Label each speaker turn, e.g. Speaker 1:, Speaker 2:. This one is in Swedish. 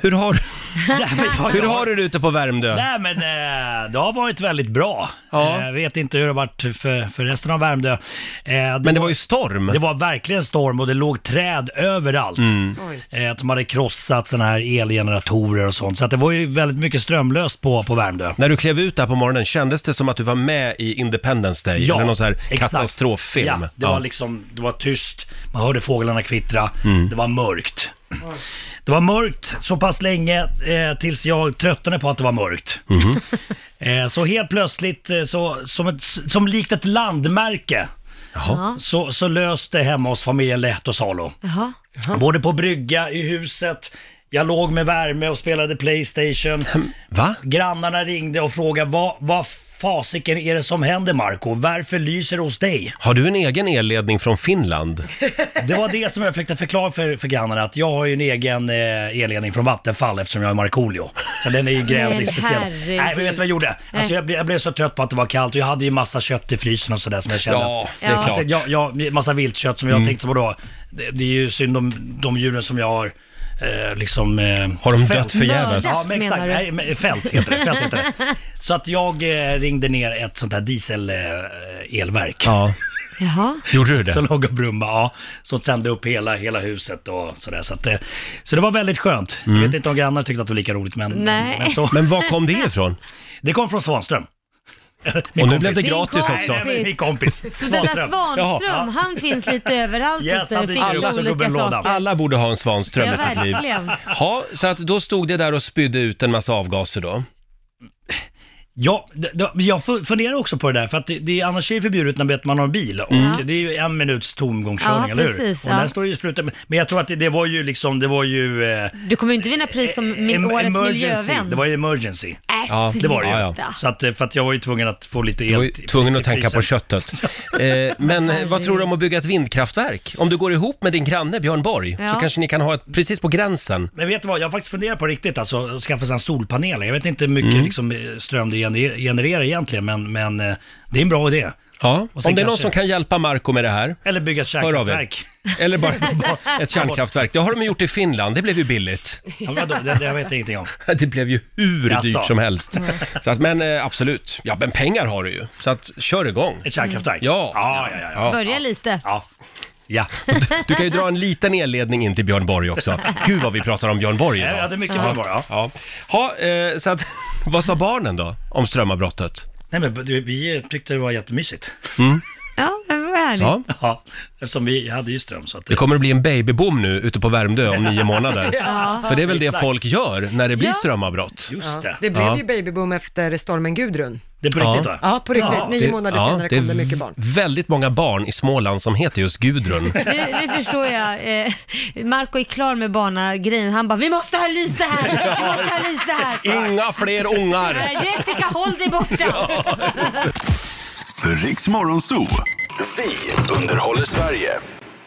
Speaker 1: Hur har,
Speaker 2: Nej, men jag-
Speaker 1: hur har du det ute på Värmdö?
Speaker 2: Nej men eh, det har varit väldigt bra.
Speaker 1: Ja.
Speaker 2: Eh, vet inte hur det har varit för, för resten av Värmdö. Eh, det
Speaker 1: Men det var ju storm.
Speaker 2: Det var verkligen storm och det låg träd överallt.
Speaker 1: Mm.
Speaker 3: Oj.
Speaker 2: Eh, att de hade krossat sådana här elgeneratorer och sånt. Så att det var ju väldigt mycket strömlöst på, på Värmdö.
Speaker 1: När du klev ut där på morgonen, kändes det som att du var med i Independence Day? eller någon sån här
Speaker 2: exakt.
Speaker 1: katastroffilm?
Speaker 2: Ja, det var liksom, det var tyst, man hörde fåglarna kvittra,
Speaker 1: Mm.
Speaker 2: det var mörkt. Det var mörkt så pass länge eh, tills jag tröttnade på att det var mörkt.
Speaker 1: Mhm.
Speaker 2: Eh, så helt plötsligt, eh, så, som, ett, som likt ett landmärke,
Speaker 1: Jaha.
Speaker 2: så, så löste hemma hos familjen Lätt och Salo.
Speaker 3: Jaha.
Speaker 2: Både på brygga, i huset, jag låg med värme och spelade Playstation.
Speaker 1: Va?
Speaker 2: Grannarna ringde och frågade vad, vad fasiken är det som händer Marco? Varför lyser det hos dig?
Speaker 1: Har du en egen elledning från Finland?
Speaker 2: Det var det som jag försökte förklara för, för grannarna att jag har ju en egen eh, elledning från Vattenfall eftersom jag är Markoolio. Så den är ju grävd i
Speaker 3: Men
Speaker 2: speciell.
Speaker 3: herregud.
Speaker 2: Nej, men vet du vad jag gjorde? Alltså, jag, blev- jag blev så trött på att det var kallt och jag hade ju massa kött i frysen och sådär som jag kände
Speaker 1: Ja,
Speaker 2: att...
Speaker 1: det är
Speaker 3: Ja.
Speaker 1: klart. Mm.
Speaker 2: Alltså, jag, jag, massa viltkött som jag tänkte så vadå? Det, det är ju synd om de djuren som jag har eh, liksom... Eh,
Speaker 1: Har de dött förgäves?
Speaker 3: Mördat.
Speaker 2: Ja, men exakt.
Speaker 3: menar du?
Speaker 2: Nej, men fält heter det. Fält heter det. Så att jag eh, ringde ner ett sånt här dieselelverk. Eh, elverk.
Speaker 1: Ja,
Speaker 3: Jaha.
Speaker 1: gjorde du det?
Speaker 2: Som låg och brumma, ja. Som tände upp hela, hela huset och sådär. Så, att, det- så det var väldigt skönt.
Speaker 1: Mm.
Speaker 2: Jag vet inte om grannarna tyckte att det var lika roligt, men,
Speaker 3: Nej.
Speaker 2: men så.
Speaker 1: Men var kom det ifrån?
Speaker 2: Det kom från Svanström.
Speaker 1: Och nu blev det
Speaker 3: Din
Speaker 1: gratis
Speaker 3: kompis.
Speaker 1: också.
Speaker 2: Nej, nej, men min kompis.
Speaker 3: Så den där
Speaker 2: Svanström.
Speaker 3: Svanström, han finns lite överallt
Speaker 2: Yes,
Speaker 3: och så
Speaker 2: han dyker
Speaker 3: fixar
Speaker 2: upp som
Speaker 3: olika
Speaker 2: gubben Lådan.
Speaker 3: saker.
Speaker 1: Alla borde ha en Svanström
Speaker 3: Ja,
Speaker 1: i sitt liv.
Speaker 3: verkligen.
Speaker 1: Ja, så att då stod det där och spydde ut en massa avgaser då.
Speaker 2: Ja, det, det, jag fu- funderar också på det där, för att det, det, är- annars är det förbjudet när man har en bil. Och Det är ju en minuts tomgångskörning,
Speaker 3: Mm. Ja,
Speaker 2: eller
Speaker 3: precis,
Speaker 2: hur?
Speaker 3: ja.
Speaker 2: Och där står det ju sprutan. men- Men jag tror att det, det var ju liksom, det var ju... Eh,
Speaker 3: Du kommer ju inte vinna pris som min
Speaker 2: em-
Speaker 3: årets
Speaker 2: E- emergency.
Speaker 3: miljövän.
Speaker 2: Det var ju emergency.
Speaker 3: Äh,
Speaker 1: Ja,
Speaker 2: Det var det ju.
Speaker 1: Ja, ja.
Speaker 3: sluta.
Speaker 2: Så att, eh, för att jag var ju tvungen att få lite el.
Speaker 1: Du var ju
Speaker 2: till-
Speaker 1: tvungen att
Speaker 2: till
Speaker 1: tänka på
Speaker 2: frysen.
Speaker 1: köttet. Eh, men eh, vad tror du om att bygga ett vindkraftverk? Om du går ihop med din granne Björn Borg så
Speaker 3: Ja.
Speaker 1: kanske ni kan ha ett precis på gränsen.
Speaker 2: Men vet du vad, jag har faktiskt funderat på riktigt alltså, att skaffa sig en solpanel. Jag vet inte hur mycket
Speaker 1: Mm.
Speaker 2: liksom, eh, ström det gener- genererar egentligen, men, men eh, det är en bra idé.
Speaker 1: Ja,
Speaker 2: sen
Speaker 1: om det är någon
Speaker 2: kanske-
Speaker 1: som kan hjälpa Marco med det här,
Speaker 2: Eller bygga ett
Speaker 1: hör av er.
Speaker 2: kärnkraftverk.
Speaker 1: Eller bara ett kärnkraftverk. Det har de gjort i Finland, det blev ju billigt.
Speaker 2: Ja, vadå? det, det jag vet jag ingenting om.
Speaker 1: Det blev ju hur
Speaker 2: Jaså. Mm.
Speaker 1: dyrt som helst. Så att, men eh, absolut, ja men pengar har du ju. Så att kör igång.
Speaker 2: Ett kärnkraftverk?
Speaker 1: Ja.
Speaker 2: Ja, ja, ja. ja.
Speaker 1: Ja.
Speaker 3: Börja lite.
Speaker 2: ja. ja.
Speaker 1: Du kan ju dra en liten elledning in till Björn Borg också. Gud vad vi pratar om Björn Borg
Speaker 2: Jag
Speaker 1: idag.
Speaker 2: hade mycket bra ja.
Speaker 1: Ja, ha, eh, så att, vad sa barnen då om strömavbrottet?
Speaker 2: Nej men du, vi tyckte det var jättemysigt.
Speaker 3: Ja, men vad härligt.
Speaker 1: Ja,
Speaker 2: Ja, eftersom vi hade ju ström så att...
Speaker 1: det kommer att bli en babyboom nu ute på Värmdö om nio månader. För det är väl det
Speaker 2: Exakt.
Speaker 1: folk gör när det blir
Speaker 4: Ja.
Speaker 1: strömavbrott.
Speaker 2: Just det.
Speaker 4: Det blev
Speaker 1: Ja.
Speaker 4: ju babyboom efter stormen Gudrun.
Speaker 2: Det är på riktigt va?
Speaker 4: Ja, på riktigt.
Speaker 2: Ja.
Speaker 4: Nio månader senare kom det
Speaker 1: är
Speaker 4: mycket barn.
Speaker 1: Väldigt många barn i Småland som heter just Gudrun.
Speaker 3: Nu, nu förstår jag. Eh, Marco är klar med barnagrejen. Han bara, vi måste ha lyse här! Vi måste ha lyse här!
Speaker 1: Inga fler ungar!
Speaker 3: Eh, Jessica, håll dig borta!
Speaker 5: Riks Morgonzoo. Vi underhåller Sverige.